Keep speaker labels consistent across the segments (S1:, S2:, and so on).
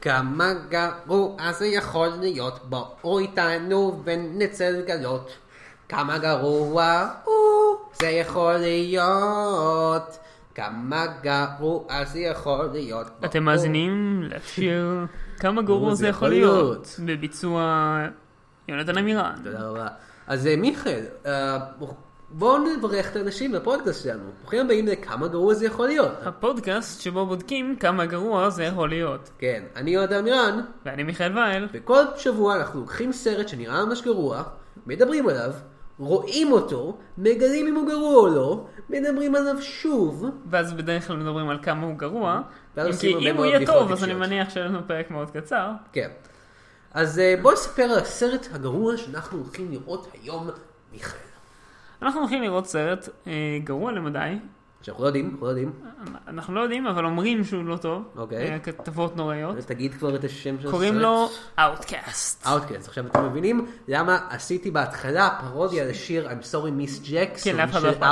S1: כמה גרוע זה יכול להיות, בואו איתנו ונצא לגלות. כמה גרוע הוא זה יכול להיות. כמה גרוע זה יכול להיות.
S2: אתם מאזינים לשיר כמה גרוע זה יכול להיות בביצוע יונתן עמירן.
S1: תודה רבה. אז אה, מיכאל, אה, בואו נברך את האנשים בפודקאסט שלנו. ברוכים הבאים לכמה גרוע זה יכול להיות.
S2: אה. הפודקאסט שבו בודקים כמה גרוע זה יכול להיות.
S1: כן, אני יונתן עמירן.
S2: ואני מיכאל וייל.
S1: וכל שבוע אנחנו לוקחים סרט שנראה ממש גרוע, מדברים עליו, רואים אותו, מגלים אם הוא גרוע או לא, מדברים עליו שוב,
S2: ואז בדרך כלל מדברים על כמה הוא גרוע.
S1: ואז
S2: אם
S1: עושים
S2: כי
S1: הרבה
S2: אם הוא
S1: מאוד
S2: יהיה
S1: בדיחות
S2: טוב, אז אני
S1: טיפשיות.
S2: מניח שיהיה לנו פרק מאוד קצר.
S1: כן. אז אה, בוא נספר על הסרט הגרוע שאנחנו הולכים לראות היום, מיכאל.
S2: אנחנו הולכים לראות סרט אה, גרוע למדי.
S1: שאנחנו לא יודעים, אנחנו לא יודעים.
S2: אנחנו לא יודעים, אבל אומרים שהוא לא טוב.
S1: אוקיי.
S2: אה, כתבות נוראיות.
S1: אז תגיד כבר את השם של הסרט.
S2: קוראים לו Outcast.
S1: Outcast. אוקיי, עכשיו אתם מבינים למה עשיתי בהתחלה פרודיה לשיר I'm sorry miss
S2: כן,
S1: Jackson
S2: לאף אחד לא
S1: של
S2: אכפת.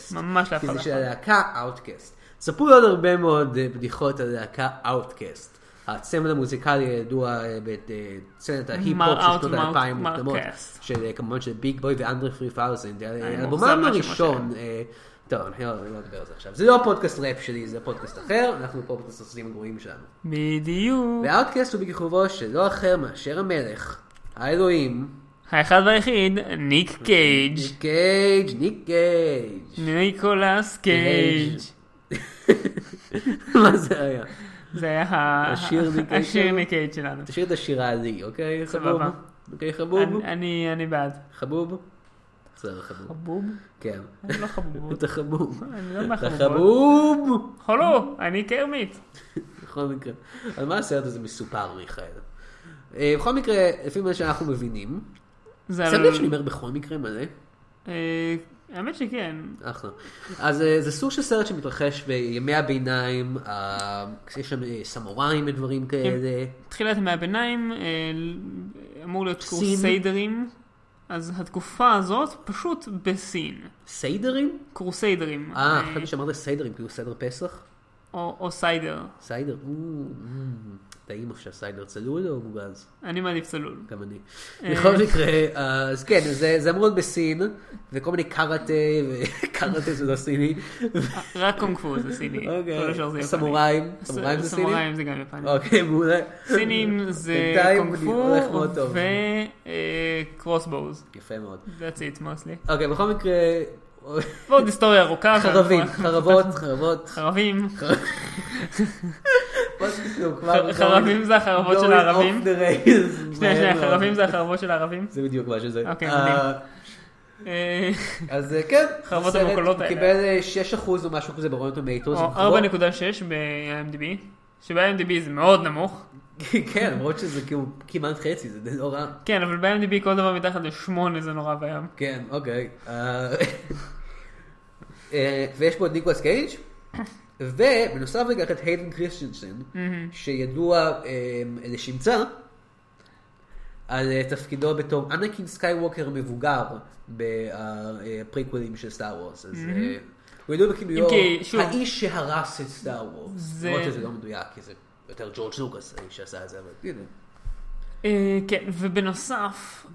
S1: Outcast.
S2: ממש לאף
S1: כי
S2: אחד
S1: זה
S2: לא
S1: של
S2: אכפת.
S1: הלהקה Outcast. ספרו עוד הרבה מאוד אה, בדיחות על הלהקה Outcast. הצמד המוזיקלי הידוע אה, בצנת ההיפ-הופ של
S2: מר
S1: שנות
S2: Out, מר-
S1: האלפיים
S2: מר
S1: מוקדמות,
S2: Outcast.
S1: של אה, כמובן של ביג בוי ואנדרי 3000,
S2: אני
S1: האלבומם
S2: מאוכזב מהשמות
S1: אה, הראשון, אה, טוב, אני לא אני לא אדבר על זה עכשיו, זה לא הפודקאסט ראפ שלי, זה פודקאסט אחר, אנחנו פה בפודקאסטים הגרועים שלנו.
S2: בדיוק.
S1: והאוטקאסט הוא בכיכובו של לא אחר מאשר המלך, האלוהים,
S2: האחד והיחיד, ניק קייג'.
S1: ניק קייג', ניק קייג'.
S2: ניקולס קייג'.
S1: מה זה היה?
S2: זה היה ה-
S1: השיר ניק קייג'
S2: השיר
S1: שלנו?
S2: ניק קייג' שלנו.
S1: תשאיר את השירה לי, אוקיי, חבוב?
S2: סבבה.
S1: אוקיי, חבוב?
S2: אני- אני אני בעד.
S1: חבוב? בסדר, חבוב.
S2: חבוב?
S1: כן.
S2: אני לא חבובות.
S1: אתה חבוב.
S2: אני לא
S1: אתה
S2: מהחבובות.
S1: חבוב!
S2: הולו, אני קרמיט.
S1: בכל מקרה. על מה הסרט הזה מסופר, מיכאל? אה, בכל מקרה, לפי מה שאנחנו מבינים,
S2: זה
S1: שם
S2: על-
S1: לב שאני אומר בכל מקרה מלא?
S2: אה, האמת שכן.
S1: אחלה. אז אה, זה סוג של סרט שמתרחש בימי הביניים, אה, יש שם אה, סמוראים ודברים
S2: כן.
S1: כאלה.
S2: תחילת ימי הביניים, אה, אמור להיות
S1: סין.
S2: קורסיידרים. אז התקופה הזאת פשוט בסין.
S1: סיידרים?
S2: קורסיידרים.
S1: אה,
S2: אה,
S1: חשבתי שאמרת סיידרים, כאילו סיידר פסח?
S2: או או סיידר.
S1: סיידר, או, מ, טעים עכשיו סיידר צלול או מוגז?
S2: אני מעדיף צלול.
S1: גם אני.
S2: אה.
S1: בכל מקרה, אה, אז כן, זה- זה אמור להיות בסין, וכל מיני קארטה, וקארטה זה לא סיני.
S2: רק קונג פו זה סיני. אוקיי. כל השאר זה
S1: אוקיי,
S2: יפני.
S1: סמוראים, סמוראים זה סיני?
S2: סמוראים זה גם יפני.
S1: אוקיי, מעולה.
S2: סינים זה
S1: בינתיים
S2: קונג
S1: אני
S2: פו
S1: הולך מאוד טוב.
S2: וקרוסבוז.
S1: יפה מאוד.
S2: That's it mostly.
S1: אוקיי, בכל מקרה,
S2: ועוד היסטוריה ארוכה.
S1: חרבים,
S2: ואנחנו-
S1: חרבות, חרבות.
S2: חרבים.
S1: מה שקשור, כאילו, כבר-
S2: חרבים זה החרבות של הערבים?
S1: Going off the rails.
S2: שנייה, שנייה,
S1: מהר מאוד.
S2: חרבים זה החרבות של הערבים.
S1: זה בדיוק מה שזה.
S2: אוקיי,
S1: אה,
S2: מדהים. אה,
S1: אז אה, כן,
S2: חרבות
S1: הסרט
S2: המקולות האלה.
S1: קיבל אה, 6% או משהו כזה ברונטו מייטוס.
S2: או 4.6 ב-IMDb, שב-IMDb זה מאוד נמוך.
S1: כן, למרות שזה כאילו כמעט חצי, זה די לא רע.
S2: כן, אבל ב-IMDb כל דבר מתחת ל-8 זה נורא ואיום.
S1: כן, אוקיי. אה, אה, ויש פה את ניקולס קייג', ובנוסף לכך את היידן קריסטינסון, שידוע אה, לשמצה על אה, תפקידו בתור אנקין סקייווקר מבוגר בפריקוולים של סטאר וורס. אז אה, הוא ידוע בכינויו
S2: אם כי, שוב-
S1: האיש שהרס את סטאר וורס.
S2: זה-
S1: למרות שזה לא מדויק, כי זה יותר ג'ורג' לוקאס האיש שעשה את זה, אבל הנה.
S2: אה, כן, ובנוסף,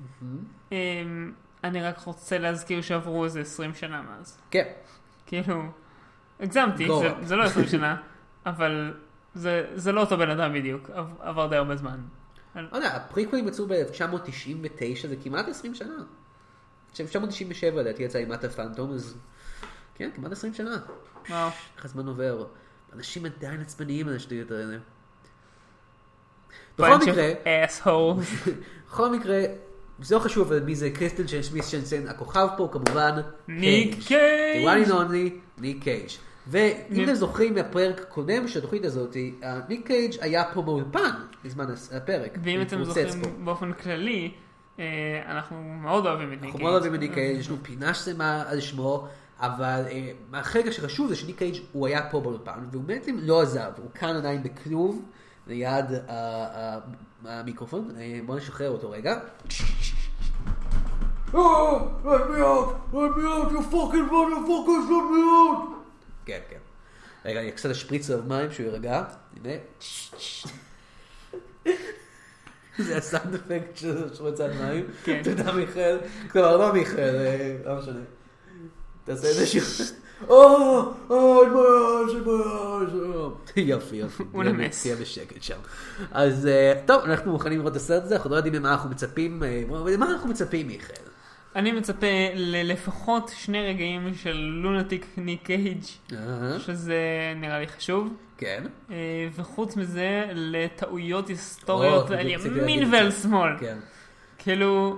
S2: אה, אני רק רוצה להזכיר שעברו איזה 20 שנה מאז.
S1: כן.
S2: כאילו, הגזמתי,
S1: Go
S2: זה-
S1: up.
S2: זה לא 20 שנה, אבל זה- זה לא אותו בן אדם בדיוק, עב- עבר די הרבה זמן.
S1: לא יודע, הפריקוולים יצאו ב-1999, זה כמעט 20 שנה. 1997 לדעתי יצא אימת הפנטום, אז כן, כמעט 20 שנה.
S2: וואו.
S1: איך הזמן עובר. אנשים עדיין עצבניים על השטויות האלה. בכל
S2: bunch of
S1: מקרה,
S2: assholes.
S1: בכל מקרה, זה לא חשוב על מי זה קריסטל של סמיס שנסן, הכוכב פה כמובן,
S2: ניק
S1: כן. The
S2: קייג'.
S1: one and only, ניק קייג'. ואם
S2: ניק-
S1: אתם זוכרים מהפרק הקודם של התוכנית הזאת, אה, ניק קייג' היה פה באולפן בזמן הס- הפרק.
S2: ואם
S1: הוא
S2: אתם
S1: התרוצץ פה.
S2: זוכרים באופן כללי, אה, אנחנו מאוד אוהבים את ניק
S1: אנחנו מאוד אוהבים את ניק קייג', יש לנו פינה שלמה על שמו, אבל אה, החלק שחשוב זה שניק קייג' הוא היה פה באולפן, והוא בעצם לא עזב, הוא כאן עדיין בכלוב, ליד ה- ה- המיקרופון, אה, בואו נשחרר אותו רגע. Oh, let me out, let me out, you fucking motherfuckers, let me out. כן, כן. רגע, אני קצת אשפריץ עליו מים שהוא יירגע, הנה. זה הסאונד אפקט של שרוצת מים.
S2: כן.
S1: תודה מיכאל. כלומר, לא מיכאל, אה, לא משנה. תעשה איזה שיר. או, אוי, בוש, בוש. יופי, יופי.
S2: הוא
S1: תהיה-
S2: נמס.
S1: תהיה בשקט שם. אז אה, טוב, אנחנו מוכנים לראות את הסרט הזה, אנחנו לא יודעים למה אנחנו מצפים. אה, למה אנחנו מצפים, מיכאל?
S2: אני מצפה ללפחות שני רגעים של לונטיק ניק קייג',
S1: אהה,
S2: שזה נראה לי חשוב.
S1: כן,
S2: אה, וחוץ מזה, לטעויות היסטוריות
S1: או,
S2: על
S1: בדיוק רציתי להגיד
S2: ימין
S1: את זה.
S2: ועל שמאל.
S1: כן.
S2: כאילו,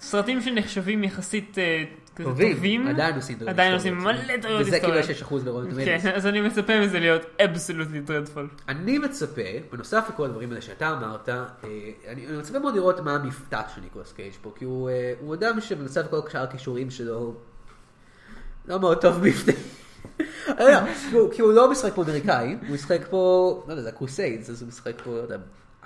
S2: סרטים שנחשבים יחסית אה, כזה טובים,
S1: טובים, עדיין עושים טעויות
S2: עדיין עושים
S1: היסטוריות.
S2: מלא טעויות
S1: וזה כאילו
S2: היסטוריות.
S1: 6% ברוב
S2: כן,
S1: טומטוס.
S2: אז אני מצפה מזה להיות אבסולוטלי דרדפול.
S1: אני מצפה, בנוסף לכל הדברים האלה שאתה אמרת, אה, אני אני מצפה מאוד לראות מה המבטא של ניקולס קייג' פה, כי הוא אה, הוא אדם שבנוסף לכל שאר הכישורים שלו, לא מאוד טוב מבטא. אני לא יודע, כי הוא- כי הוא לא משחק פה אמריקאי, הוא משחק פה, לא יודע, זה הקרוסיידס, אז הוא משחק פה, לא יודע,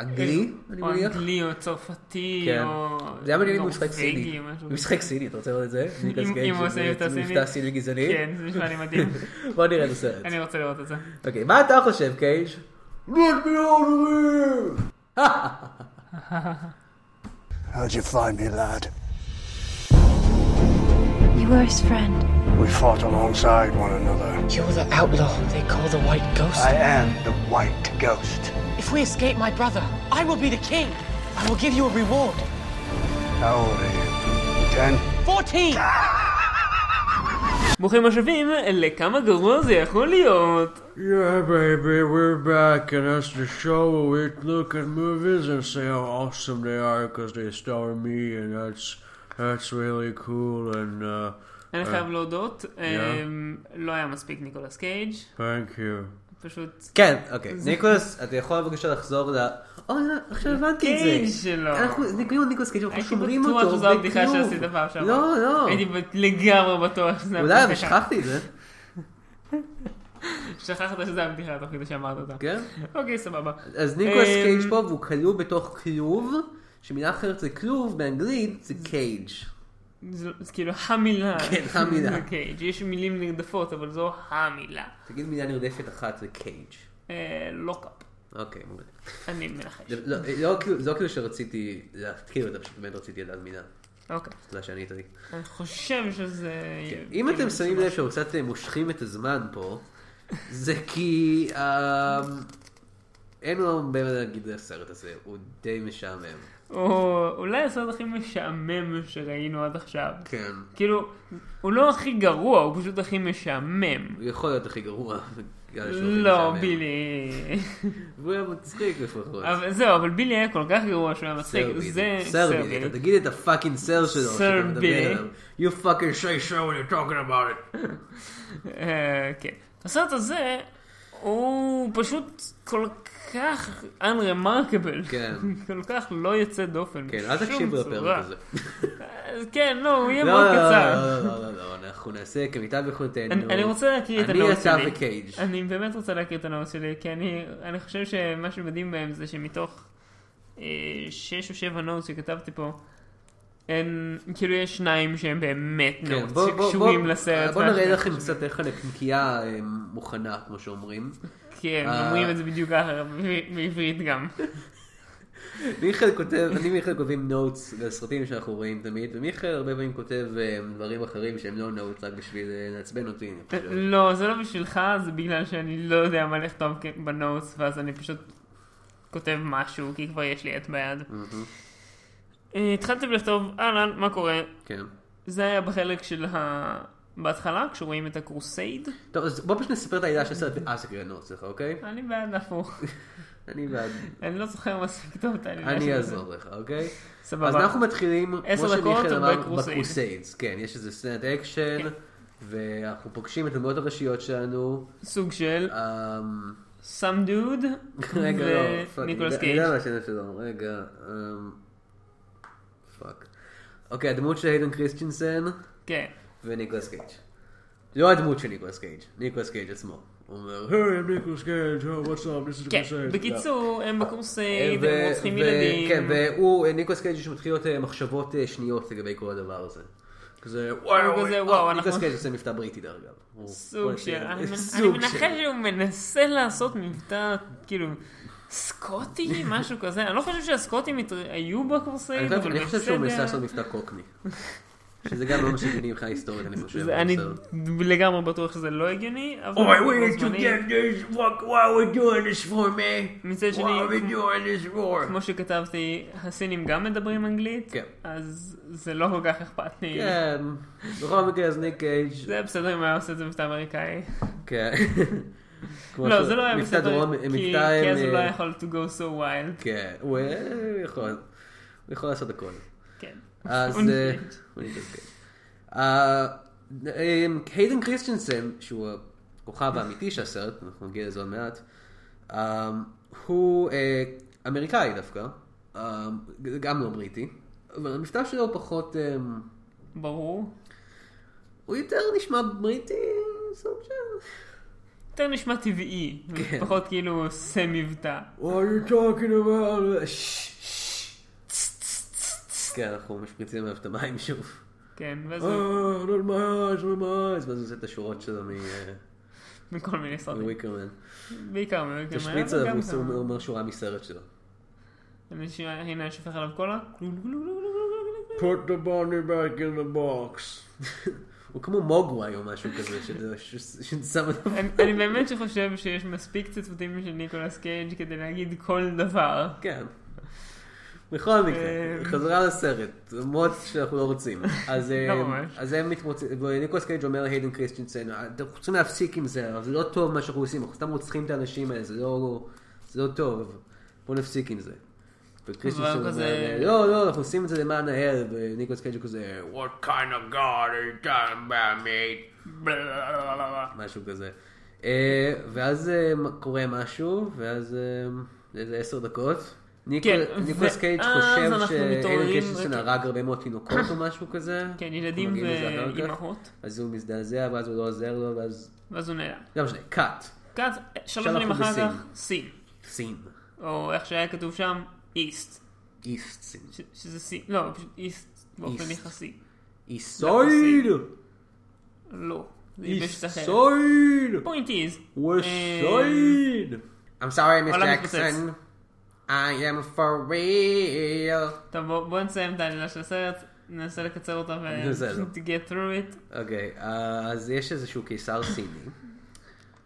S1: אנגלי, אני
S2: או
S1: מניח.
S2: אה, אנגלי, או צרפתי,
S1: כן.
S2: או...
S1: זה היה מעניין אם הוא משחק
S2: נורבגי,
S1: סיני.
S2: לא, משהו
S1: הוא
S2: כזה.
S1: משחק סיני, אתה רוצה לראות את זה? ניקולס
S2: אם
S1: קייג'
S2: הוא עושה
S1: שזה
S2: מבטא סיני.
S1: מבטא סיני גזעני?
S2: כן, זה נשמע לי מדהים.
S1: בוא נראה את הסרט.
S2: אני רוצה לראות את זה.
S1: אוקיי, מה אתה חושב, קייג'? Let me out of here!
S3: How'd you find me, lad?
S4: You were his friend.
S3: We fought alongside one another.
S5: You're the outlaw they call the White Ghost.
S3: I am the White Ghost.
S5: If we escape my brother, I will be the king. I will give you a reward.
S3: How old are you? Ten?
S5: 14!
S2: ברוכים השבים לכמה גרוע זה יכול להיות.
S6: Yeah, baby, we're back, and that's the show where we look at movies and say how awesome they are because they star me, and that's that's really cool. And uh,
S2: אני חייב להודות,
S6: אה.
S2: אמ, לא היה מספיק ניקולס קייג',
S6: thank you.
S2: פשוט
S1: כן, אוקיי. ניקולס, אתה יכול בבקשה לחזור ל... אוי, עכשיו הבנתי את זה.
S2: קייג' שלו.
S1: אנחנו ניקולו ניקולס קייג' אנחנו
S2: הייתי
S1: שומרים
S2: בטוח
S1: אותו
S2: שזו הבדיחה
S1: בכלוב.
S2: שעשית פעם שעברה.
S1: לא, לא.
S2: הייתי בט- לגמרי בטוח שזה
S1: אולי, אבל שכחתי את זה.
S2: שכחת שזה הבדיחה תוך כדי שאמרת אותה.
S1: כן?
S2: אוקיי, סבבה.
S1: אז ניקולס
S2: אמ,
S1: קייג' פה והוא כלוא בתוך כלוב, שמילה אחרת זה כלוב, באנגלית זה קייג'.
S2: זה זה כאילו המילה.
S1: כן, המילה.
S2: זה קייג'. יש מילים נרדפות, אבל זו המילה.
S1: תגיד מילה נרדפת אחת זה קייג'.
S2: אה, לוקאפ.
S1: אוקיי, מעולה.
S2: אני מנחש.
S1: זה לא- לא כאילו- זה לא כאילו שרציתי להתקיל אותה, פשוט באמת רציתי לדעת מילה.
S2: אוקיי.
S1: תודה שענית לי.
S2: אני חושב שזה...
S1: כן. אם
S2: כאילו,
S1: אתם שמים
S2: זה
S1: לב שאנחנו קצת אה, מושכים את הזמן פה, זה כי אה, אין לנו הרבה מה להגיד על הסרט הזה, הוא די משעמם.
S2: או אולי הסרט הכי משעמם שראינו עד עכשיו.
S1: כן.
S2: כאילו, הוא לא הכי גרוע, הוא פשוט הכי משעמם.
S1: הוא יכול להיות הכי גרוע. בגלל שהוא הכי
S2: לא,
S1: משעמם.
S2: בילי.
S1: הוא היה מצחיק לפחות.
S2: אבל זהו, אבל בילי היה כל כך גרוע שהוא היה מצחיק.
S1: סר בילי.
S2: זה
S1: סר בילי. אתה תגיד את הפאקינג סר שלו
S2: סר
S1: שאתה מדבר
S2: בילי.
S1: עליו. You fucking say so when you're talking about it.
S2: אה, כן. הסרט הזה, הוא פשוט כל כך unremarkable.
S1: כן.
S2: כל כך לא יוצא דופן.
S1: כן, אל
S2: בשום
S1: תקשיבו
S2: צורה.
S1: לפרק הזה.
S2: אז כן, לא, הוא יהיה
S1: לא,
S2: מאוד
S1: לא, לא,
S2: קצר.
S1: לא, לא, לא, לא, אנחנו נעשה כמיטב יכולתנו.
S2: אני אני רוצה להקריא את הנאום שלי.
S1: אני, אתה וקייג'.
S2: אני באמת רוצה להקריא את הנאום שלי, כי אני, אני חושב שמה שמדהים בהם זה שמתוך אה, שש או שבע נאום שכתבתי פה, אין, כאילו יש שניים שהם באמת
S1: כן,
S2: נאום,
S1: בוא- בוא-
S2: שקשורים
S1: בוא-
S2: לא, לסרט.
S1: בוא
S2: ואנחנו-
S1: נראה לכם קצת איך הנקניקייה אה, מוכנה, כמו שאומרים.
S2: כן,
S1: אה.
S2: אומרים את זה בדיוק ככה, בעברית- בעברית גם.
S1: מיכאל כותב, אני ומיכאל כותבים נוטס לסרטים שאנחנו רואים תמיד, ומיכאל הרבה פעמים כותב אה, דברים אחרים שהם לא נוטס רק בשביל אה, לעצבן אותי, אני חושב.
S2: לא, זה לא בשבילך, זה בגלל שאני לא יודע מה לכתוב כ- בנוטס, ואז אני פשוט כותב משהו, כי כבר יש לי את ביד. אה, התחלתי לכתוב, אהלן, מה קורה?
S1: כן.
S2: זה היה בחלק של ה... בהתחלה, כשרואים את הקרוסייד.
S1: טוב, אז בוא פשוט נספר את העילה של הסרט ואז נקרא נוטס לך, אוקיי?
S2: אני בעד הפוך.
S1: אני בעד,
S2: אני לא זוכר מספיק טוב את העלילה
S1: אני
S2: של זה.
S1: אעזור לך, אוקיי? אז
S2: סבבה.
S1: אנחנו מתחילים,
S2: עשר
S1: כמו
S2: דקות,
S1: שמיכאל אמר,
S2: בקרוסייד.
S1: בקרוסיידס. כן, יש איזה סצנת אקשן,
S2: כן.
S1: ואנחנו פוגשים את הדמויות הראשיות שלנו.
S2: סוג של
S1: אמ,
S2: סאם דוד
S1: רגע, לא, פאק,
S2: וניקולס
S1: אני
S2: קייג'.
S1: יודע מה השם שלו, רגע, אמ, פאק. אוקיי, הדמות של היידן קריסטינסן
S2: כן.
S1: וניקולס קייג'. לא הדמות של ניקולס קייג', ניקולס קייג' עצמו. הוא אומר,
S6: Hey, I'm Nicholas Cage. Oh, what's up? This is
S2: כן.
S6: Crusade.
S2: בקיצור, הם בקרוסייד,
S1: ו-
S2: הם רוצחים
S1: ו-
S2: ילדים.
S1: כן, והוא, אה, ניקולס קייג' יש מתחילות אה, מחשבות אה, שניות לגבי כל הדבר הזה. כזה, וואו,
S2: כזה,
S1: אה,
S2: וואו, אנחנו-
S1: ניקולס קייג' עושה מבטא בריטי דרך אגב. הוא-
S2: סוג
S1: הוא-
S2: של... אני
S1: אוקיי, סוג
S2: מנחש שהוא מנסה לעשות מבטא, כאילו, סקוטי, משהו כזה, אני לא חושב שהסקוטים הת- היו בקורסאים,
S1: אני חושב-
S2: אבל
S1: אני חושב שהוא מנסה
S2: בסדר.
S1: לעשות מבטא קוקני. שזה גם לא מה שהגיוני ממך היסטורית, אני חושב.
S2: זה-
S1: אבל
S2: אני
S1: בסדר.
S2: לגמרי בטוח שזה לא הגיוני, אבל
S6: Oh, I
S2: בו
S6: waited to
S2: זמנית,
S6: get this. What, what are we doing this for, man?
S2: מצד
S6: What are we
S2: שני,
S6: doing this for?
S2: כמו שכתבתי, הסינים גם מדברים אנגלית,
S1: כן.
S2: אז זה לא כל כך אכפת לי.
S1: כן, בכל מקרה אז ניק קייג'
S2: זה היה בסדר אם היה עושה את זה מבטא אמריקאי.
S1: כן. כמו
S2: לא,
S1: ש-
S2: זה לא היה
S1: מבטא
S2: בסדר,
S1: דרום,
S2: כי-
S1: מבטא
S2: כי אז
S1: עם,
S2: הוא לא
S1: אה,
S2: היה יכול to go so wild.
S1: כן, הוא אה, יכול, הוא יכול לעשות הכל.
S2: כן.
S1: אז...
S2: הוא
S1: אה,
S2: נפלט.
S1: הוא נפלט, כן. אה, אה, היידן קריסטנסן, שהוא הכוכב האמיתי של הסרט, אנחנו נגיע לזה עוד מעט, אה, הוא אה, אמריקאי דווקא, אה, גם לא בריטי, אבל המבטא שלו הוא פחות... אה,
S2: ברור.
S1: הוא יותר נשמע בריטי, סוג של...
S2: יותר נשמע טבעי,
S1: כן.
S2: פחות כאילו עושה מבטא.
S6: What are you talking about?
S1: כן, אנחנו משפריצים עליו את המים שוב.
S2: כן, ואז הוא
S1: אה, not my eyes, not my eyes, ואז הוא עושה את השורות שלו מ- אה,
S2: מכל מיני סרטים.
S1: מוויקרמן.
S2: בעיקר מוויקרמן.
S1: תשפריץ
S2: אבל
S1: עליו,
S2: גם
S1: הוא עושה-
S2: כמה.
S1: הוא אומר שורה מסרט שלו.
S2: אני ש- הנה אני שופך עליו קולה.
S6: Put the bunny back in the box.
S1: הוא כמו מוגוואי או משהו כזה, שזה- ש- ששם עליו...
S2: אני אני באמת שחושב שיש מספיק ציטוטים של ניקולס קייג' כדי להגיד כל דבר.
S1: כן. בכל מקרה,
S2: אה,
S1: חזרה לסרט, למרות שאנחנו לא רוצים. אז אה,
S2: לא ממש.
S1: אז הם מתמוצצים, וניקולס קייג' אומר להיידן קריסטינסן, אנחנו צריכים להפסיק עם זה, אבל זה לא טוב מה שאנחנו עושים, אנחנו סתם רוצחים את האנשים האלה, זה לא- זה לא טוב, בואו נפסיק עם זה. וקריסטינסן
S2: אבל
S1: אומר,
S2: כזה-
S1: לא, לא, אנחנו עושים את זה למען האל, וניקולס קייג' הוא כזה, "What?"
S6: What kind of god are you talking about, mate?
S1: משהו כזה. אה, ואז אה, קורה משהו, ואז אה, איזה עשר דקות. ניקול-
S2: כן,
S1: ניקולס קייג'
S2: ואז
S1: חושב
S2: אנחנו
S1: שאיילן
S2: מתעוררים,
S1: קריסטנסון
S2: וכן.
S1: הרג הרבה מאוד תינוקות או משהו כזה.
S2: כן, ילדים
S1: אנחנו מגיעים לזה אחר כך.
S2: ואימהות.
S1: אז הוא מזדעזע, ואז הוא לא עוזר לו, ואז...
S2: ואז הוא נעלם.
S1: לא משנה, קאט.
S2: כץ, שלוש
S1: אנחנו
S2: שנים אחר
S1: בסין.
S2: כך, סין.
S1: סין.
S2: או איך שהיה כתוב שם, איסט.
S1: איסט סין.
S2: ש- שזה סין, לא, פשוט איסט באופן
S1: East.
S2: יחסי.
S1: איסויד!
S2: לא. זה יבשת אחרת.
S1: איסויד!
S2: פוינט איז.
S1: וסויד! I'm sorry, Miss
S2: אה, עולם
S1: Jackson. I am for real.
S2: טוב, בוא בוא נסיים את העלילה של הסרט, ננסה לקצר אותה ו...
S1: בסדר.
S2: to get through it.
S1: אוקיי, אה, אז יש איזשהו קיסר סיני.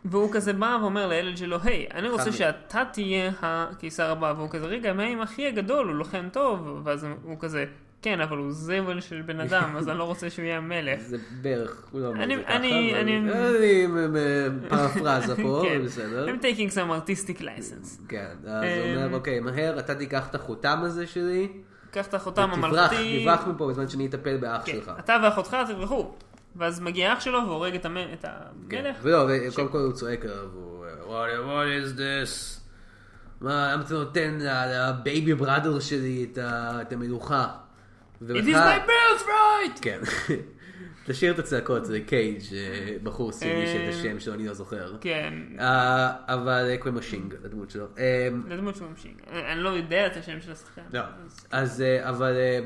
S2: והוא כזה בא ואומר לילד שלו, היי, אני רוצה
S1: חמי.
S2: שאתה תהיה הקיסר הבא, והוא כזה, רגע, מה עם אחי הגדול, הוא לוחם טוב, ואז הוא כזה, כן, אבל הוא זבל של בן אדם, אז אני לא רוצה שהוא יהיה המלך.
S1: זה בערך, הוא לא אומר את
S2: אני-
S1: זה ככה.
S2: אני-
S1: אבל-
S2: אני-
S1: אני מ- מ- פרפרזה פה,
S2: כן.
S1: אבל בסדר.
S2: I'm taking some artistic license.
S1: כן, אז הוא אומר,
S2: אמ,
S1: אוקיי, מהר, אתה תיקח את החותם הזה שלי,
S2: קח את החותם
S1: ותברח,
S2: המלכותי.
S1: תברח מפה בזמן שאני אטפל באח
S2: כן,
S1: שלך.
S2: אתה ואחותך תברחו. ואז מגיע אח שלו והורג את המ- את
S1: כן.
S2: המלך.
S1: ולא, וקודם כל הוא צועק עליו, הוא, "What- what is this? מה, למה אתה נותן ל- לבייבי בראדר שלי את ה- את המלוכה?
S2: It
S1: ובכלל-
S2: is my birthright!
S1: כן. תשאיר את הצעקות, זה קייג', אה, בחור סיני שאת
S2: אה,
S1: השם שלו אני לא זוכר.
S2: כן,
S1: אה, אבל אה, קוראים לו שינג, הדמות שלו. אה,
S2: לא דמות שהוא ממשיך. אני אני לא יודע את השם של השחקן.
S1: לא.
S2: אז-
S1: אז, אה, אבל אה,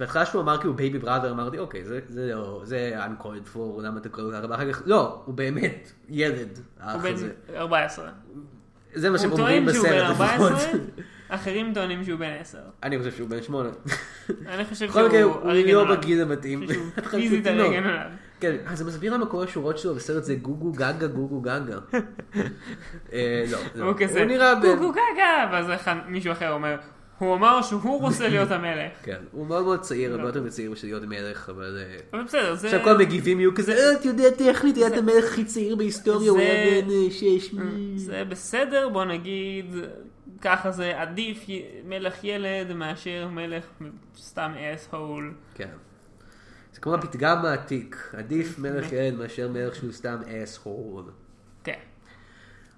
S1: בהתחלה שהוא אמר כאילו בייבי בראדר, אמרתי, אוקיי, זה- זה לא, זה uncalled for, למה אתה קורא לו ככה? אחר כך, לא, הוא באמת ילד,
S2: הוא
S1: האח הזה.
S2: בן 14.
S1: זה אה, מה שהם
S2: הוא
S1: אומרים
S2: טוען שהוא בן
S1: בסרט נכון.
S2: 14,
S1: לפחות.
S2: אחרים טוענים שהוא בן 10.
S1: אני חושב שהוא בן שמונה.
S2: אני חושב
S1: בכל מקרה,
S2: שהוא
S1: הוא
S2: הרגע
S1: לא
S2: נולד.
S1: בגיל המתאים.
S2: אני חושב שהוא
S1: חצי
S2: פיזית
S1: תינוק.
S2: הרגע נולד.
S1: כן, אה, זה מסביר למה כל השורות שלו בסרט זה גוגו גגה גוגו גגה. אה, לא, לא.
S2: הוא כזה,
S1: הוא נראה בן...
S2: קוקו קקה, ואז אחד- מישהו אחר אומר, הוא אמר שהוא רוצה להיות המלך.
S1: כן, הוא מאוד מאוד צעיר, הרבה יותר מצעיר בשביל להיות מלך, אבל... אה,
S2: אבל בסדר, לא. זה...
S1: עכשיו כל המגיבים יהיו כזה, "אה, אתה יודע טכנית, היה את המלך הכי צעיר בהיסטוריה, הוא
S2: זה-
S1: היה בן אה, שש.
S2: זה בסדר, בוא נגיד, ככה זה עדיף י- מלך ילד מאשר מלך סתם אס-הול.
S1: כן. זה כמו הפתגם העתיק,
S2: אה,
S1: עדיף מלך ילד מאשר מלך שהוא סתם אס הורון.
S2: כן.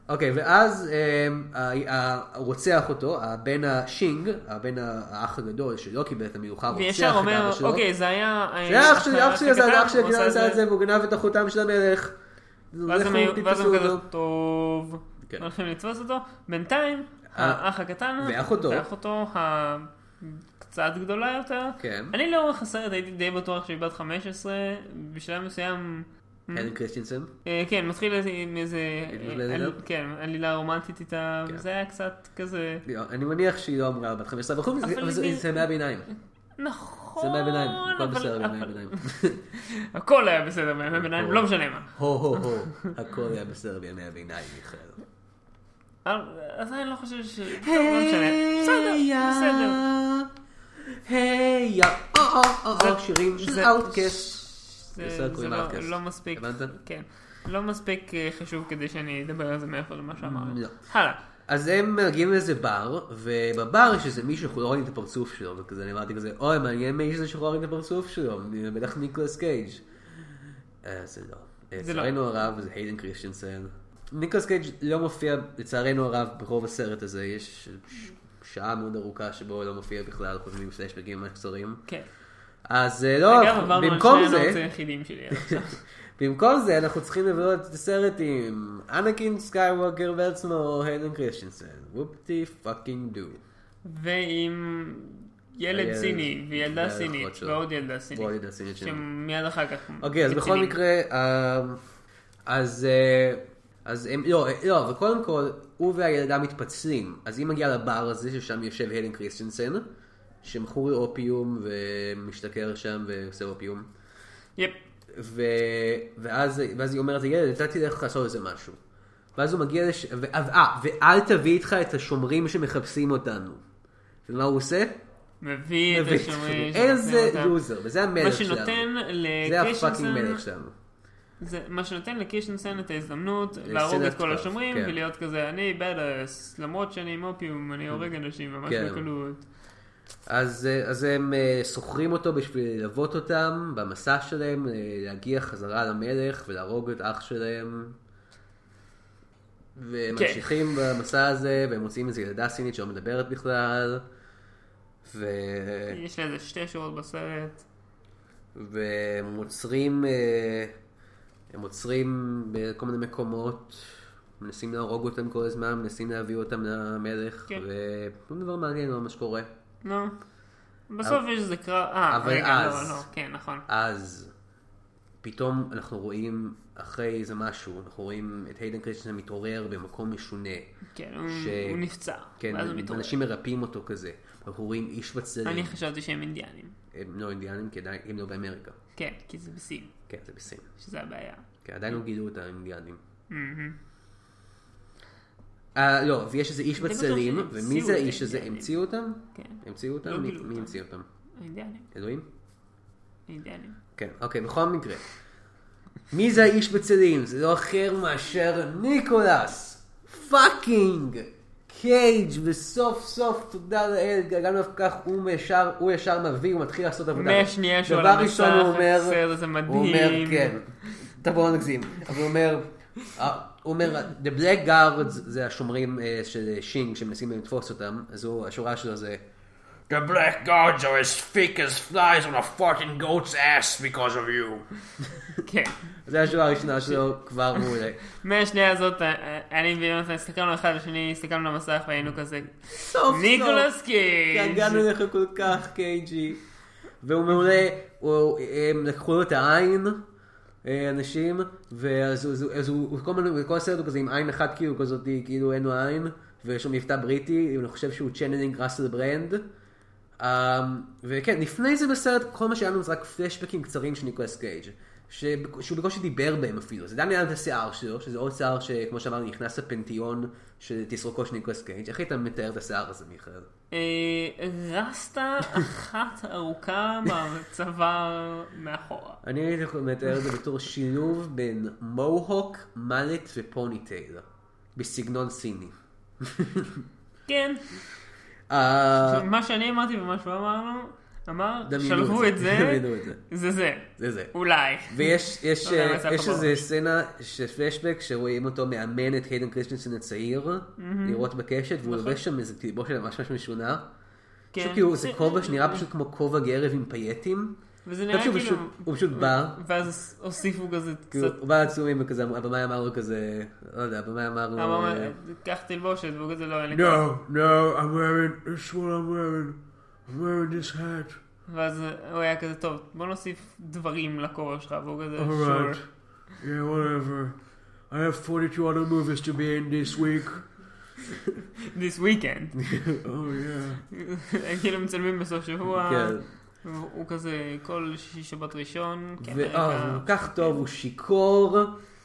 S1: אוקיי, ואז אמ, ה- ה- הרוצח אותו, הבן השינג, הבן האח הגדול שלא קיבל את המלוכה, רוצח
S2: וישר
S1: את
S2: אומר,
S1: אבא שלו.
S2: אוקיי, זה היה... אה,
S1: זה אח שלי, אח
S2: הקטן,
S1: שלי עשה את זה, אח
S2: הוא
S1: שלי עשה את
S2: עשה
S1: זה, והוא גנב את החותם של המלך.
S2: ואז הם
S1: לכו,
S2: היו- ואז
S1: תתפסו
S2: הם כזה,
S1: אותו.
S2: טוב,
S1: כן. אה.
S2: הולכים לתפוס אותו. בינתיים, האח הקטן,
S1: ואחותו.
S2: ואחותו ה... קצת גדולה יותר.
S1: כן.
S2: אני לאורך הסרט הייתי די בטוח שהיא בת 15, בשלב מסוים
S1: הלן קריסטינסון.
S2: אה, כן, מתחיל איזה- עם איזה...
S1: עלילה?
S2: אה, עלי- כן, עלילה רומנטית איתה,
S1: כן.
S2: זה היה קצת כזה...
S1: לא, אני מניח שהיא לא אמרה בת 15 וכו',
S2: אבל
S1: אבל זה-
S2: היא-
S1: זה מהביניים.
S2: נכון,
S1: זה מהביניים, הכל
S2: אבל-
S1: בסדר
S2: אבל-
S1: מהביניים.
S2: הכל היה בסדר בימי הביניים, לא משנה מה.
S1: הו הו הו, הכל היה בסדר בימי הביניים, מיכאל.
S2: אבל- אז אני לא חושב ש... טוב, לא משנה. בסדר, בסדר.
S1: היי יא, או או או או,
S2: זה-
S1: שירים של
S2: זה-
S1: אאוטקאסט.
S2: זה-
S1: בסדר,
S2: זה
S1: קוראים
S2: לא-
S1: לאוטקאסט.
S2: לא מספיק,
S1: הבנת?
S2: כן, לא מספיק אה, חשוב כדי שאני אדבר על זה מעבר למה שאמרנו.
S1: לא.
S2: הלאה.
S1: אז הם מגיעים לאיזה בר, ובבר יש איזה מישהו שאנחנו לא רואים את הפרצוף שלו, וכזה אני אמרתי כזה, אוי, מעניין מי זה שאנחנו לא רואים את הפרצוף שלו, בטח ניקולס קייג'. אה, זה לא. אה,
S2: זה לא.
S1: לצערנו הרב, זה היידן קריסטינסן. ניקולס קייג' לא מופיע, לצערנו הרב, ברוב הסרט הזה, יש ש- שעה מאוד ארוכה שבו הוא לא מופיע בכלל, חוץ מפלשבקים ממש קצרים.
S2: כן.
S1: אז אה, לא,
S2: אגב, עברנו על
S1: במקום
S2: שני הנאות
S1: זה,
S2: היחידים שלי עד עכשיו.
S1: במקום זה אנחנו צריכים לבלות את הסרט עם אנקין סקייווקר בעצמו או היידן קריסטינסן. וופטי פאקינג דו.
S2: ועם ילד
S1: הילד-
S2: סיני, וילדה
S1: והאחות
S2: סינית,
S1: שלו.
S2: ועוד ילדה סינית.
S1: ועוד ילדה סינית שלו.
S2: שמיד אחר כך...
S1: אוקיי, אז בכל
S2: מצילים.
S1: מקרה, אה, אז... אה, אז הם, לא, אה, לא, אבל קודם כל, הוא והילדה מתפצלים. אז היא מגיעה לבר הזה, ששם יושב הלן קריסטינסן, שמכור לאופיום ומשתכר שם ועושה אופיום.
S2: יפ.
S1: ו... ואז, ואז היא אומרת לילד, אתה תלך לעשות איזה משהו. ואז הוא מגיע לש... ו... אה, ואל תביא איתך את השומרים שמחפשים אותנו. ומה הוא עושה?
S2: מביא את
S1: מביא את
S2: השומרים.
S1: השומרים. איזה
S2: שנותן אותם.
S1: לוזר, וזה
S2: מה
S1: המלך שלנו.
S2: שנותן אה,
S1: זה הפאקינג
S2: לקרישנסן,
S1: מלך שלנו.
S2: זה- מה שנותן לקישנסן את ההזדמנות להרוג את כל
S1: קרב,
S2: השומרים
S1: אה, כן.
S2: ולהיות כזה אני בדאס למרות שאני עם אופיום אני הורג אנשים ממש
S1: כן.
S2: בקלות.
S1: אז, אה, אז הם אה, שוכרים אותו בשביל ללוות אותם במסע שלהם, אה, להגיע חזרה למלך ולהרוג את אח שלהם. והם
S2: כן.
S1: ממשיכים במסע הזה, והם מוצאים איזו ילדה סינית שלא מדברת בכלל. ו... כן.
S2: יש לה איזה שתי שורות בסרט.
S1: והם עוצרים, אה, הם עוצרים בכל מיני מקומות, מנסים להרוג אותם כל הזמן, מנסים להביא אותם למלך,
S2: כן.
S1: ושום דבר מעניין לא מה שקורה.
S2: נו. בסוף יש איזה קרב, אה
S1: אבל
S2: רגע לא
S1: אז-
S2: לא כן נכון.
S1: אז פתאום אנחנו רואים אחרי איזה משהו, אנחנו רואים את היידן קריסטיאן מתעורר במקום משונה.
S2: כן הוא
S1: ש-
S2: הוא נפצע.
S1: כן,
S2: ואז הוא מתעורר.
S1: אנשים מרפאים אותו כזה. אנחנו רואים איש
S2: אני
S1: בצדדים,
S2: חשבתי שהם אינדיאנים.
S1: הם לא אינדיאנים, כי עדיין, הם לא באמריקה.
S2: כן כי זה בסין
S1: כן, זה בסין.
S2: שזה הבעיה.
S1: כן, עדיין
S2: Mm-hmm.
S1: לא גילו את האינדיאנים. אה, לא, ויש איזה איש
S2: אני בטוח
S1: בצלים,
S2: שהמציאו
S1: ומי זה
S2: את
S1: האיש הזה?
S2: האינדיאנים.
S1: המציאו אותם?
S2: כן.
S1: המציאו אותם?
S2: לא
S1: מי-
S2: גילו
S1: מי
S2: אותם.
S1: המציאו אותם?
S2: אינדיאנים.
S1: אלוהים?
S2: אינדיאנים.
S1: כן, אוקיי, בכל מקרה. מי זה האיש בצלים? זה לא אחר מאשר ניקולס! פאקינג! קייג' וסוף סוף תודה לאל, גם לא כך הוא ישר, הוא ישר מביא, הוא מתחיל לעשות עבודה.
S2: מהשנייה שהוא על
S1: דבר
S2: המסך,
S1: ראשון הוא אומר,
S2: הסרט הזה
S1: הוא אומר,
S2: מדהים.
S1: כן, תבואו נגזים, אבל הוא אומר, אה, הוא אומר, The Black Guards זה השומרים אה, של אה, שינג שמנסים לתפוס אותם, אז הוא, השורה שלו זה,
S7: The blackguards are as thick as flies on a farting goat's ass because of you.
S2: כן.
S1: זה השורה הראשונה שלו, כבר מעולה.
S2: מהשנייה הזאת, אה, אני ויונתן הסתכלנו אחד על השני, הסתכלנו למסך והיינו כזה,
S1: סוף
S2: ניקולס קייג'.
S1: התגעגענו אליך כל כך, קייג'י. והוא מעולה, הוא- הם לקחו לו את העין, אה, אנשים, ואז הוא- אז הוא- אז הוא הוא כל הזמן, כל הסרט הוא כזה עם עין אחת כאילו כזאת, כאילו אין לו עין, ויש לו מבטא בריטי, אני חושב שהוא צ'נלינג ראסל ברנד. אמ, וכן, לפני זה בסרט, כל מה שהיה לנו זה רק פלשבקים קצרים של ניקולס קייג'. ש- שהוא בקושי דיבר בהם אפילו, זה עדיין היה את השיער שלו, שזה עוד שיער שכמו שאמרנו נכנס לפנתיאון של תסרוקו של ניקולס קייג', איך היית מתאר את השיער הזה מיכאל?
S2: אה, רסטה אחת ארוכה מהצוואר מאחורה.
S1: אני הייתי יכול לתאר את זה בתור שילוב בין מוהוק, מלט ופוניטייל, בסגנון סיני.
S2: כן,
S1: אה,
S2: מה שאני אמרתי ומה שהוא אמרנו, אמר,
S1: דמיינו
S2: שלבו את זה,
S1: דמיינו את זה,
S2: זה זה,
S1: זה זה.
S2: אולי.
S1: ויש יש,
S2: לא יודע מה זה
S1: אה, יש
S2: החברות.
S1: איזה סצנה של פלשבק שרואים אותו מאמן את היידן קריסטנסון הצעיר, לראות בקשת, והוא לובש שם איזה תלבושת ממש ממש משונה.
S2: נכון. כן.
S1: פשוט כאילו זה כובע שנראה פשוט כמו כובע גרב עם פייטים.
S2: וזה
S1: אתה
S2: נראה
S1: חושב
S2: כאילו,
S1: שהוא פשוט- הוא פשוט בא,
S2: ואז הוסיפו כזה
S1: כאילו,
S2: קצת,
S1: הוא בא עצומים וכזה, הבמאי אמר לו כזה, לא יודע, הבמאי אמר לו...
S2: אמר,
S1: אה,
S2: קח תלבושת, והוא כזה לא, אין לי כוח.
S6: No, no, I'm wearing this is what I'm wearing. I'm wearing this hat.
S2: ואז הוא היה כזה, טוב, בוא נוסיף דברים לכובע שלך, והוא כזה,
S6: Alright.
S2: sure.
S6: Yeah, whatever. I have 42 other movies to be in this week.
S2: this weekend.
S6: Oh, yeah.
S2: כאילו מצלמים בסוף שבוע,
S1: כן.
S2: הוא הוא כזה כל שישי שבת ראשון, כן,
S1: ואה, אה, הוא
S2: רגע.
S1: כל כך טוב, הוא שיכור,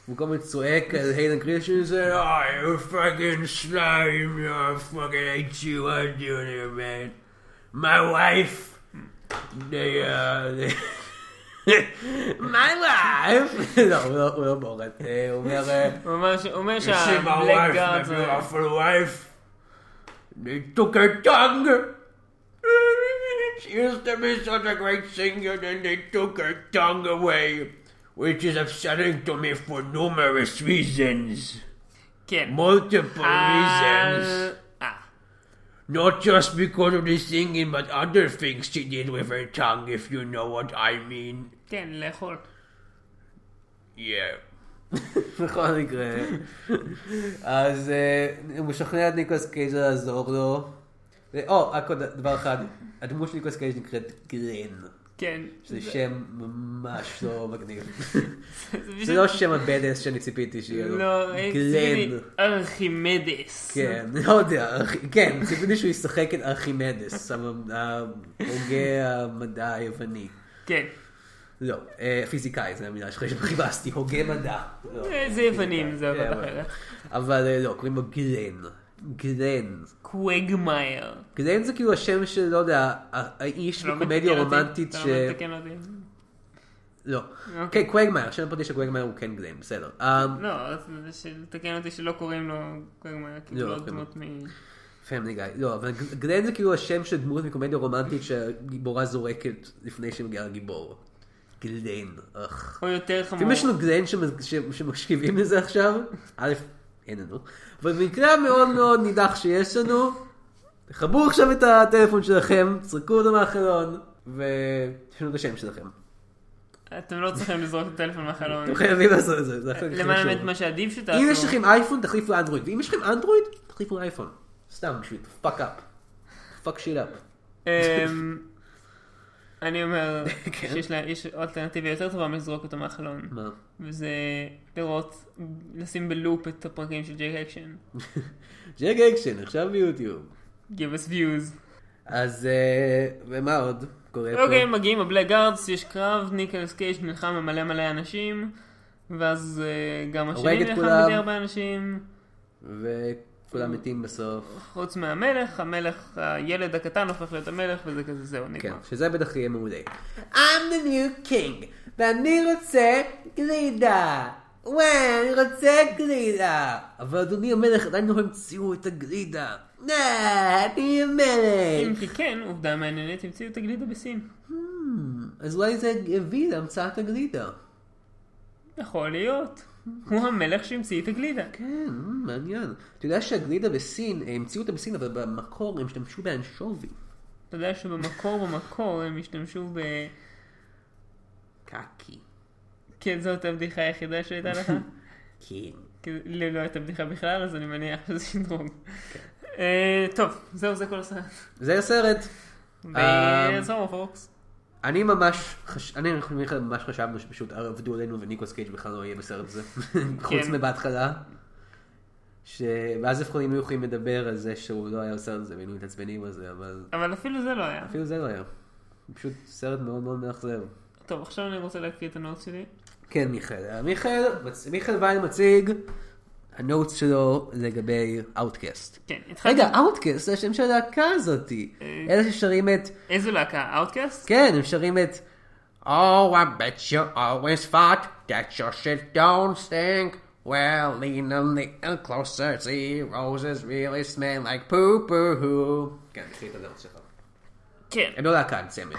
S1: הוא כל הזמן צועק על היילן קרישן, זה
S6: I
S1: "Oh,
S6: you fucking slime. I fucking hate you. I do it, man. My wife.
S1: they, uh, they- My wife! לא, הוא לא- הוא לא בורט, אה, הוא אומר... אה,
S2: הוא אומר ש- הוא אומר
S6: You see my wife,
S2: שהבלק
S6: my
S2: גארד זה...
S6: beautiful wife. They took her tongue. She used to be such a great singer, then they took her tongue away, which is upsetting to me for numerous reasons,
S2: כן.
S6: multiple
S2: על-
S6: reasons.
S2: אה,
S6: Not just because of the singing, but other things she did with her tongue, if you know what I mean.
S2: כן, לאכול.
S6: Yeah.
S1: בכל מקרה. אז אה, הוא משכנע את ניקולס קייג' לעזור לו. ו- או, רק עוד דבר אחד, הדמות של ניקולס קייג' נקראת גרין,
S2: כן.
S1: שזה שם ממש לא מגניב.
S2: זה
S1: זה לא שם הבדס שאני ציפיתי שיהיה לו.
S2: לא, אה,
S1: גרין.
S2: ציפיתי ארכימדס.
S1: כן, לא יודע, ארכ- כן, ציפיתי שהוא ישחק את ארכימדס, ההוגה המדע היווני.
S2: כן.
S1: לא, אה, פיזיקאי, זו המילה שלך שחיפשתי, הוגה מדע. לא.
S2: אה, זה יוונים, זה
S1: כן,
S2: עבוד
S1: אבל-
S2: אחרת.
S1: אבל אה, לא, קוראים לו גרן. גרן.
S2: קווגמייר.
S1: גלן זה כאילו השם של, לא יודע, ה- האיש
S2: אתה לא
S1: בקומדיה
S2: מתקן אותי?
S1: רומנטית ש...
S2: אתה לא מתקן אותי?
S1: לא.
S2: אוקיי.
S1: כן, קווגמייר, השם הפרטי של קווגמייר הוא כן גלן, בסדר. אה,
S2: לא, אז ש- תקן אותי שלא קוראים לו קווגמייר, כי זה
S1: לא,
S2: לא
S1: כן.
S2: דמות מ...
S1: פמילי גיא. לא, אבל ג- גלן זה כאילו השם של דמות מקומדיה רומנטית שהגיבורה זורקת לפני שמגיעה לגיבור. גלן, אך.
S2: או יותר
S1: אם
S2: חמור.
S1: יש לנו גלן שמ- ש- שמקשיבים לזה עכשיו, א', אין לנו, אבל במקרה המאוד מאוד נידח שיש לנו, תחברו עכשיו את הטלפון שלכם, צרקו אותו מהחלון, ותשנו את השם שלכם.
S2: אתם לא צריכים לזרוק את הטלפון מהחלון.
S1: אתם חייבים לעשות את זה, זה הכי
S2: למען
S1: כן, חשוב.
S2: האמת מה שעדיף שתעשו.
S1: אם יש לכם אייפון, תחליפו לאנדרואיד, ואם יש לכם אנדרואיד, תחליפו לאייפון. סתם בשביל פאק אפ. פאק שיט אפ.
S2: אמ, אני אומר
S1: כן.
S2: שיש לה- יש אלטרנטיבה יותר טובה מלזרוק אותו מהחלון.
S1: מה?
S2: וזה לראות, לשים בלופ את הפרקים של ג'ק אקשן.
S1: ג'ק אקשן, עכשיו ביוטיוב.
S2: Give us views.
S1: אז אה, ומה עוד קורה פה?
S2: אוקיי, מגיעים הבלק גארדס, יש קרב, ניקלס קייש נלחם עם מלא מלא אנשים, ואז אה, גם
S1: הורג
S2: השני
S1: את
S2: נלחם
S1: כולם.
S2: בדי הרבה אנשים,
S1: וכולם מתים בסוף.
S2: חוץ מהמלך, המלך, הילד הקטן הופך להיות המלך, וזה כזה זהו,
S1: כן,
S2: נגמר.
S1: שזה בטח יהיה מעולה. I'm the new king, ואני רוצה גלידה. וואי, אני רוצה גלידה. אבל אדוני המלך, עדיין לא המציאו את הגלידה. נה, אני המלך.
S2: אם כי כן, עובדה מעניינת, המציאו את הגלידה בסין.
S1: אז אולי זה הביא להמצאת הגלידה. אה,
S2: יכול להיות. הוא המלך שהמציא את הגלידה.
S1: כן, מ, מעניין. אתה יודע שהגלידה בסין, אה, המציאו אותה בסין, אבל במקור הם השתמשו באנשובי.
S2: אתה יודע שבמקור במקור הם השתמשו ב...
S1: קקי.
S2: כן, זאת הבדיחה היחידה שהייתה לך?
S1: כן.
S2: כי לי לא הייתה בדיחה בכלל, אז אני מניח שזה שדרוג.
S1: כן.
S2: אה, טוב, זהו, זה כל הסרט.
S1: זה הסרט. אמ,
S2: וזהו, פוקס.
S1: אני ממש, חש... אני אנחנו מיכאל ממש חשבנו שפשוט עבדו עלינו וניקולס קייג' בכלל לא יהיה בסרט הזה. חוץ
S2: כן.
S1: מבהתחלה. ש... ואז לפחות היינו יכולים לדבר על זה שהוא לא היה בסרט הזה, והיינו מתעצבנים על זה, אבל
S2: אבל אפילו זה לא היה.
S1: אפילו זה לא היה. פשוט סרט מאוד מאוד מאכזב.
S2: טוב, עכשיו אני רוצה להקריא את הנוט שלי.
S1: כן, מיכאל. מיכאל, מצ... מיכאל ויין מציג הנוטס שלו לגבי אאוטקאסט.
S2: כן, התחלתי...
S1: רגע, אאוטקאסט זה השם של הלהקה הזאתי. אלה ששרים את
S2: איזו להקה? אאוטקאסט?
S1: כן, הם שרים את Oh, I bet you always thought that your shit don't stink. Well, lean a little closer, see, roses really smell like poo poo hoo. כן, תקחי את הדרך שלך.
S2: כן.
S1: הם לא להקה, הם צמד.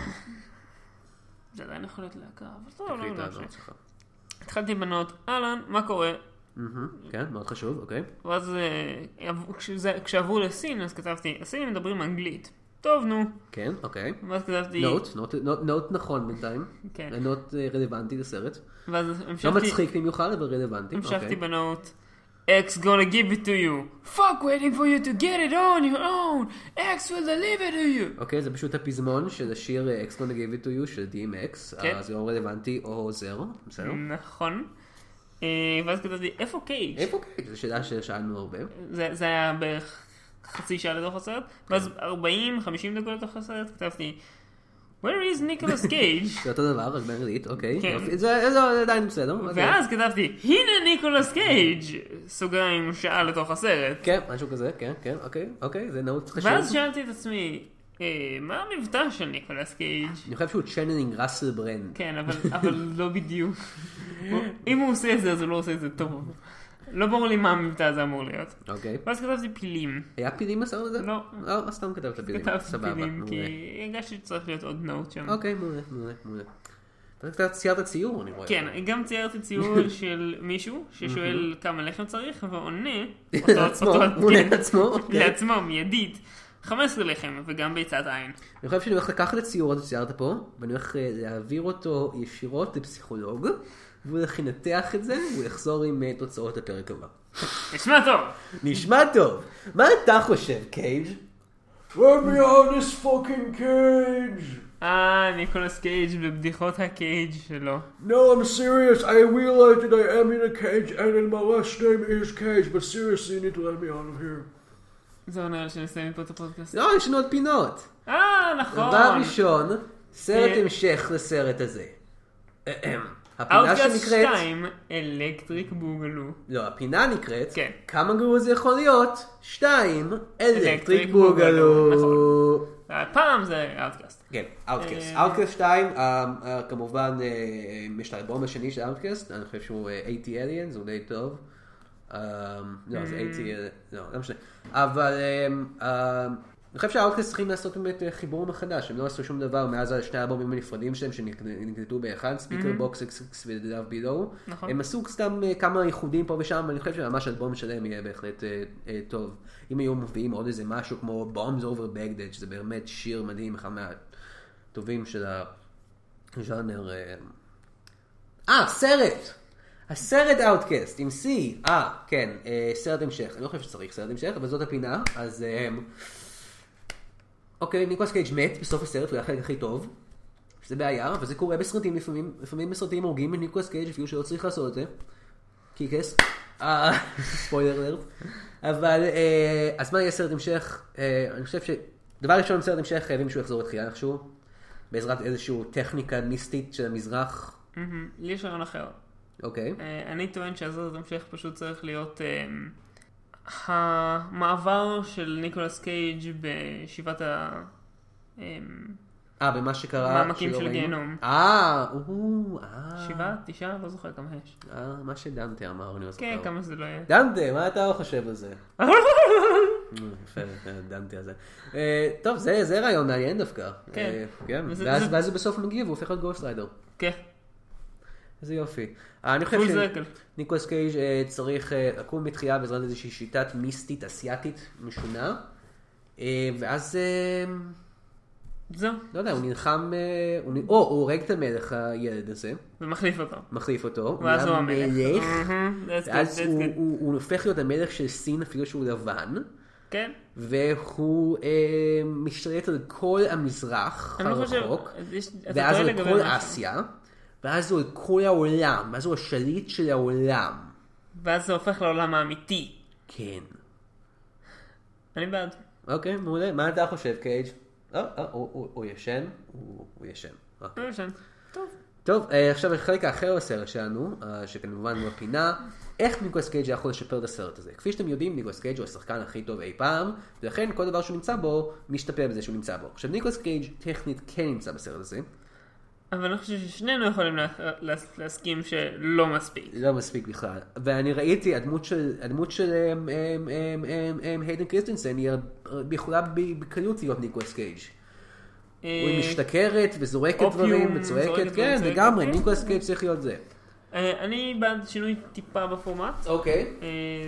S2: זה עדיין יכול להיות להקה, אבל טוב,
S1: תקחי את
S2: לא
S1: הדרך
S2: משנה.
S1: שלך.
S2: התחלתי בנוט, אהלן, מה קורה?
S1: כן, מאוד חשוב, אוקיי.
S2: ואז אה, עב- כשזה- כשעברו לסין, אז כתבתי, הסינים מדברים אנגלית. טוב, נו.
S1: כן, אוקיי.
S2: ואז כתבתי...
S1: נוט, נוט, נוט, נוט נכון בינתיים.
S2: כן.
S1: נוט אה, רלוונטי לסרט.
S2: ואז
S1: לא
S2: המשכתי...
S1: מצחיק במיוחד, אבל רלוונטי.
S2: המשכתי
S1: אוקיי.
S2: בנוט. X gonna give it to you. Fuck waiting for you to get it on your own. X will deliver to you.
S1: אוקיי, זה פשוט הפזמון של השיר אה, X gonna give it to you של DMX.
S2: כן. Mm.
S1: אה, זה או רלוונטי או עוזר. בסדר.
S2: נכון. אה, ואז כתבתי, איפה קייג'?
S1: איפה קייג'? זו שאלה ששאלנו הרבה.
S2: זה, זה היה בערך חצי שעה לתוך הסרט,
S1: כן.
S2: ואז 40-50 דקות לתוך הסרט כתבתי, Where is ניקולס קייג'?
S1: זה אותו דבר, רק באנגלית, אוקיי.
S2: כן.
S1: יופי. זה זה- זה עדיין בסדר. אוקיי.
S2: ואז כתבתי, הנה ניקולס קייג', סוגריים שעה לתוך הסרט.
S1: כן, משהו כזה, כן, כן, אוקיי, אוקיי, זה נאות חשוב.
S2: ואז שאלתי את עצמי, "אה, מה המבטא של ניקולס קייג'?
S1: אני חושב שהוא צ'נלינג ראסל ברנד.
S2: כן, אבל, אבל לא בדיוק. הוא- אם הוא עושה את זה, אז הוא לא עושה את זה טוב. לא ברור לי מה המבטא הזה אמור להיות.
S1: אוקיי.
S2: ואז כתבתי פילים.
S1: היה פילים בסרט הזה?
S2: לא.
S1: לא, סתם כתבת פילים.
S2: כתבתי
S1: סבבה,
S2: פילים, כי
S1: מעולה.
S2: הרגשתי שצריך להיות עוד נוט שם.
S1: אוקיי, מעולה, מעולה, מעולה. אתה קצת ציירת ציור, אני רואה.
S2: כן, גם ציירתי ציור של מישהו ששואל כמה לחם צריך, ועונה, אותו-
S1: לעצמו,
S2: אותו-
S1: הוא עונה
S2: כן,
S1: לעצמו, אוקיי.
S2: לעצמו, מיידית, 15 לחם, וגם ביצת עין.
S1: אני חושב שאני הולך לקחת את הציור הזה שציירת פה, ואני הולך אה, להעביר אותו ישירות לפסיכולוג, והוא הולך לנתח את זה, והוא יחזור עם אה, תוצאות לפרק הבא.
S2: נשמע טוב!
S1: נשמע טוב. מה אתה חושב, קייג'?
S6: Let me out of this fucking cage!
S2: אה, ניקולס קייג' ובדיחות הקייג' שלו.
S6: No, I'm serious. I realize that I am in a cage and that my last name is Cage, but seriously, you need to let me out of here.
S2: זה עונה על שנסיים פה את הפודקאסט.
S1: לא, יש לנו עוד פינות.
S2: אה, נכון!
S1: דבר ראשון, סרט
S2: אה.
S1: המשך לסרט הזה. אהם. הפינה
S2: אאוטקאסט
S1: שנקראת...
S2: 2, אלקטריק בוגלו.
S1: לא, הפינה נקראת...
S2: כן.
S1: כמה גרוע זה יכול להיות? שתיים, אלקטריק
S2: אלקטריק בוגלו, נכון.
S1: בוגלו.
S2: הפעם אה, זה אאוטקאסט.
S1: כן, אאוטקאסט.
S2: אה.
S1: אאוטקאסט 2, כמובן, אה, יש את האלבום השני של אאוטקאסט, אני חושב שהוא אה, AT Aliens, הוא די טוב. אה, לא, זה AT, Alien- לא, לא משנה. אבל אה, אה, אני חושב שהאאוטקאסט צריכים לעשות באמת אה, חיבור מחדש, הם לא עשו שום דבר מאז שני האלבומים הנפרדים שלהם שנקלטו באחד, ספיקר בוקס אקס ודאב בילו.
S2: נכון.
S1: הם עשו סתם אה, כמה איחודים פה ושם, ואני חושב שממש אלבום שלם יהיה בהחלט אה, אה, טוב. אם היו מביאים עוד איזה משהו כמו Bombs Over Bagdad, שזה באמת שיר מדהים, אחד מהטובים של הז'אנר. אה. אה, סרט! הסרט אאוטקאסט עם C, אה, כן, אה, סרט המשך. אני לא חושב שצריך סרט המשך, אבל זאת הפינה, אז... אה, אוקיי, ניקולס קייג' מת בסוף הסרט, הוא היה החלק הכי טוב. שזה בעיה, אבל זה קורה בסרטים לפעמים, לפעמים בסרטים הורגים את ניקולס קייג' אפילו שלא צריך לעשות את זה. קיקס. אה, ספוילר אלרט. אבל, אה, אז מה יהיה סרט המשך? אה, אני חושב ש... דבר ראשון, סרט המשך חייבים שהוא יחזור לתחילה איכשהו. בעזרת איזושהי טכניקה מיסטית של המזרח.
S2: מהמם. לי יש רעיון אחר.
S1: אוקיי.
S2: אה, אני טוען שהסרט המשך פשוט צריך להיות אה, המעבר של ניקולס קייג' בשבעת ה... אה,
S1: אה, במה שקרה...
S2: מעמקים
S1: שלא
S2: של
S1: ראינו?
S2: גיהנום.
S1: אה, או, אה.
S2: שבעה, תשעה, לא זוכר כמה יש.
S1: אה, מה שדנטה אמר, אני לא זוכר.
S2: כן, כמה שזה לא יהיה.
S1: דנטה, מה אתה חושב על זה? יפה, דנטי הזה. אה, טוב, זה זה רעיון מעניין דווקא.
S2: כן.
S1: אה, כן.
S2: וזה-
S1: ואז
S2: זה-
S1: ואז הוא בסוף מגיע והוא הופך להיות גוסט ריידר.
S2: כן,
S1: איזה יופי. אה, אני חושב
S2: פול זרקל.
S1: שניקולס קייג' אה, צריך אה, לקום מתחייה בעזרת איזושהי שיטת מיסטית אסיאתית משונה. אה, ואז, אה,
S2: זהו,
S1: לא יודע, הוא נלחם, אה, הוא נ- או, הוא הורג את המלך הילד הזה,
S2: ומחליף אותו.
S1: מחליף אותו.
S2: ואז הוא
S1: נהיה
S2: המלך. נכון.
S1: מלך,
S2: מהמם, that's good,
S1: ואז
S2: that's
S1: הוא-
S2: good.
S1: הוא הוא הופך להיות המלך של סין אפילו שהוא לבן.
S2: כן,
S1: והוא אה, משתלט על כל המזרח
S2: אני לא חושב...
S1: הרחוק,
S2: יש- אתה
S1: ואז
S2: טועה
S1: על
S2: לגבי
S1: כל
S2: משהו.
S1: אסיה, ואז הוא על כל העולם, ואז הוא השליט של העולם.
S2: ואז זה הופך לעולם האמיתי.
S1: כן.
S2: אני בעד.
S1: אוקיי, מעולה. מה אתה חושב, קייג'? אה, אה, הוא- הוא הוא ישן? הוא הוא ישן. אוקיי.
S2: לא משנה. טוב.
S1: טוב, אה, עכשיו החלק האחר בסרט שלנו, אה, שכמובן הוא הפינה, איך ניקולס קייג' היה יכול לשפר את הסרט הזה. כפי שאתם יודעים, ניקולס קייג' הוא השחקן הכי טוב אי פעם, ולכן כל דבר שהוא נמצא בו, משתפר בזה שהוא נמצא בו. עכשיו, ניקולס קייג' טכנית כן נמצא בסרט הזה,
S2: אבל אני חושב ששנינו יכולים לה- לה- להסכים שלא מספיק.
S1: לא מספיק בכלל. ואני ראיתי, הדמות של, הדמות של אמ, אמ, אמ, אמ, אמ, היידן קריסטנסן היא הר- יכולה ב- בקלות להיות ניקולס קייג'.
S2: אה,
S1: היא משתכרת וזורקת
S2: אופיום,
S1: דברים
S2: זורקת
S1: וצועקת,
S2: דברים,
S1: כן,
S2: צועקת,
S1: לגמרי,
S2: כן.
S1: ניקולס קייג' צריך להיות זה.
S2: אה, אני בעד שינוי טיפה בפורמט.
S1: אוקיי.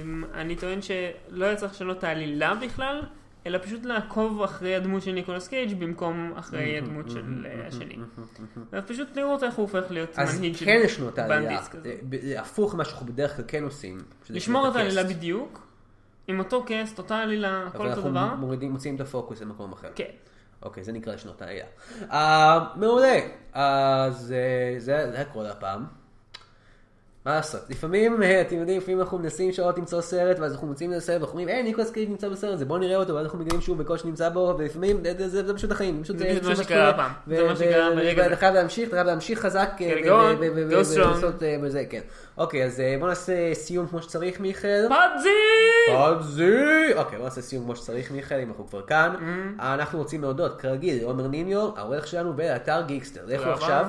S2: אמ, אני טוען שלא היה צריך לשנות את העלילה בכלל, אלא פשוט לעקוב אחרי הדמות של ניקולס קייג' במקום אחרי הדמות של אה, השני. ופשוט לראות איך הוא הופך להיות
S1: אז
S2: מנהיג של
S1: כן לשנות את העלילה,
S2: בנדיס כאילו כזה.
S1: אה, ב- זה הפוך ממה שאנחנו בדרך כלל כן עושים. שזה כאילו
S2: לשמור
S1: לשנות
S2: את העלילה
S1: הקאסט.
S2: בדיוק, עם אותו קאסט, אותה עלילה, הכל
S1: אבל
S2: אותו דבר.
S1: אנחנו מורידים, מוציאים את הפוקוס למקום אחר.
S2: כן.
S1: אוקיי, זה נקרא לשנות העלילה. אה, מעולה. אז אה, זה זה היה כל הפעם. מה לעשות? לפעמים, אה, אתם יודעים, לפעמים אנחנו מנסים שעות למצוא סרט, ואז אנחנו מוצאים איזה סרט, ואנחנו אומרים, היי, ניקולס קייג נמצא בסרט הזה, בואו נראה אותו, ואז אנחנו מגלים שהוא בקושי נמצא בו, ולפעמים זה- זה- זה זה פשוט החיים. פשוט
S2: זה בדיוק מה
S1: פשוט
S2: שקרה
S1: שקורה.
S2: הפעם. זה מה שקרה
S1: ו-
S2: ברגע
S1: ואתה
S2: הזה.
S1: חייב להמשיך, אתה חייב להמשיך חזק. אה,
S2: כן,
S1: ו-
S2: go on,
S1: ו- ו-
S2: go
S1: ו-
S2: strong.
S1: ולעשות, אה, בזה, כן. אוקיי, אז אה, בואו נעשה סיום כמו שצריך, מיכאל.
S2: פאדזי!
S1: פאדזי! אוקיי, בוא נעשה סיום כמו שצריך, מיכאל, אם אנחנו כבר כאן. אנחנו רוצים להודות, כרגיל, לעומר נימיו, העורך שלנו באתר גיקסטר. לכו
S2: רבה.
S1: עכשיו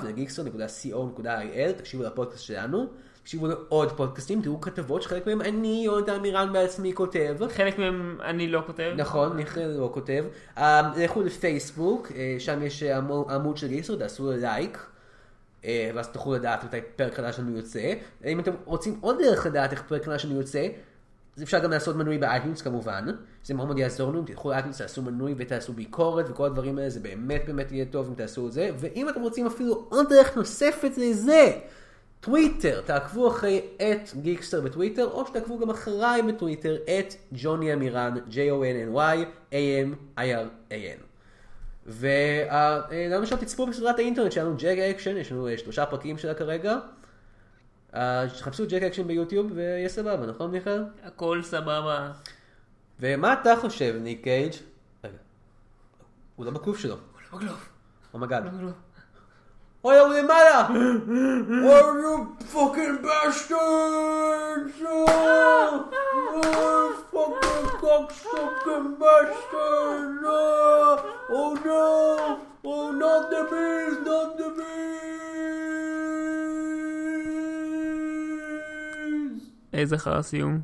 S1: לגיקסטר.co.il, תקשיבו לפודקאסט שלנו, תקשיבו לעוד פודקאסטים, תראו כתבות שחלק מהם אני, יונתן מירן בעצמי כותב.
S2: חלק מהם אני לא כותב.
S1: נכון, מיכאל לא כותב. אה, לכו לפייסבוק, אה, שם יש אה, עמו- עמוד של גיקסטר, תעשו לו לייק. אה, ואז תוכלו לדעת מתי פרק חדש שלנו יוצא. אם אתם רוצים עוד דרך לדעת איך פרק חדש שלנו יוצא, אז אפשר גם לעשות מנוי באייטיונס כמובן. זה מאוד מאוד יעזור לנו, אם תלכו לאייטיונס, תעשו מנוי ותעשו ביקורת וכל הדברים האלה, זה באמת באמת יהיה טוב אם תעשו את זה. ואם אתם רוצים אפילו עוד דרך נוספת לזה, טוויטר, תעקבו אחרי את גיקסטר בטוויטר, או שתעקבו גם אחריי בטוויטר, את ג'וני אמירן, J-O-N-N-Y, A-M-I-R-A-N. ולמה שלא תצפו בסדרת האינטרנט שלנו, ג'ג אקשן, יש לנו אה, שלושה פרקים שלה כרגע. אה, תחפשו ג'ג אקשן ביוטיוב ויהיה סבבה, נכון מיכאל?
S2: הכל סבבה.
S1: ומה אתה חושב, ניק קייג'? רגע. הוא לא בקוף לא שלו. אומייגאד. אוי, הוא למעלה! אוי, you fucking bastards! אוי, fucking cocksucking bastards! Oh no! Oh, not the bees! Not the bees!
S2: איזה חרא סיום.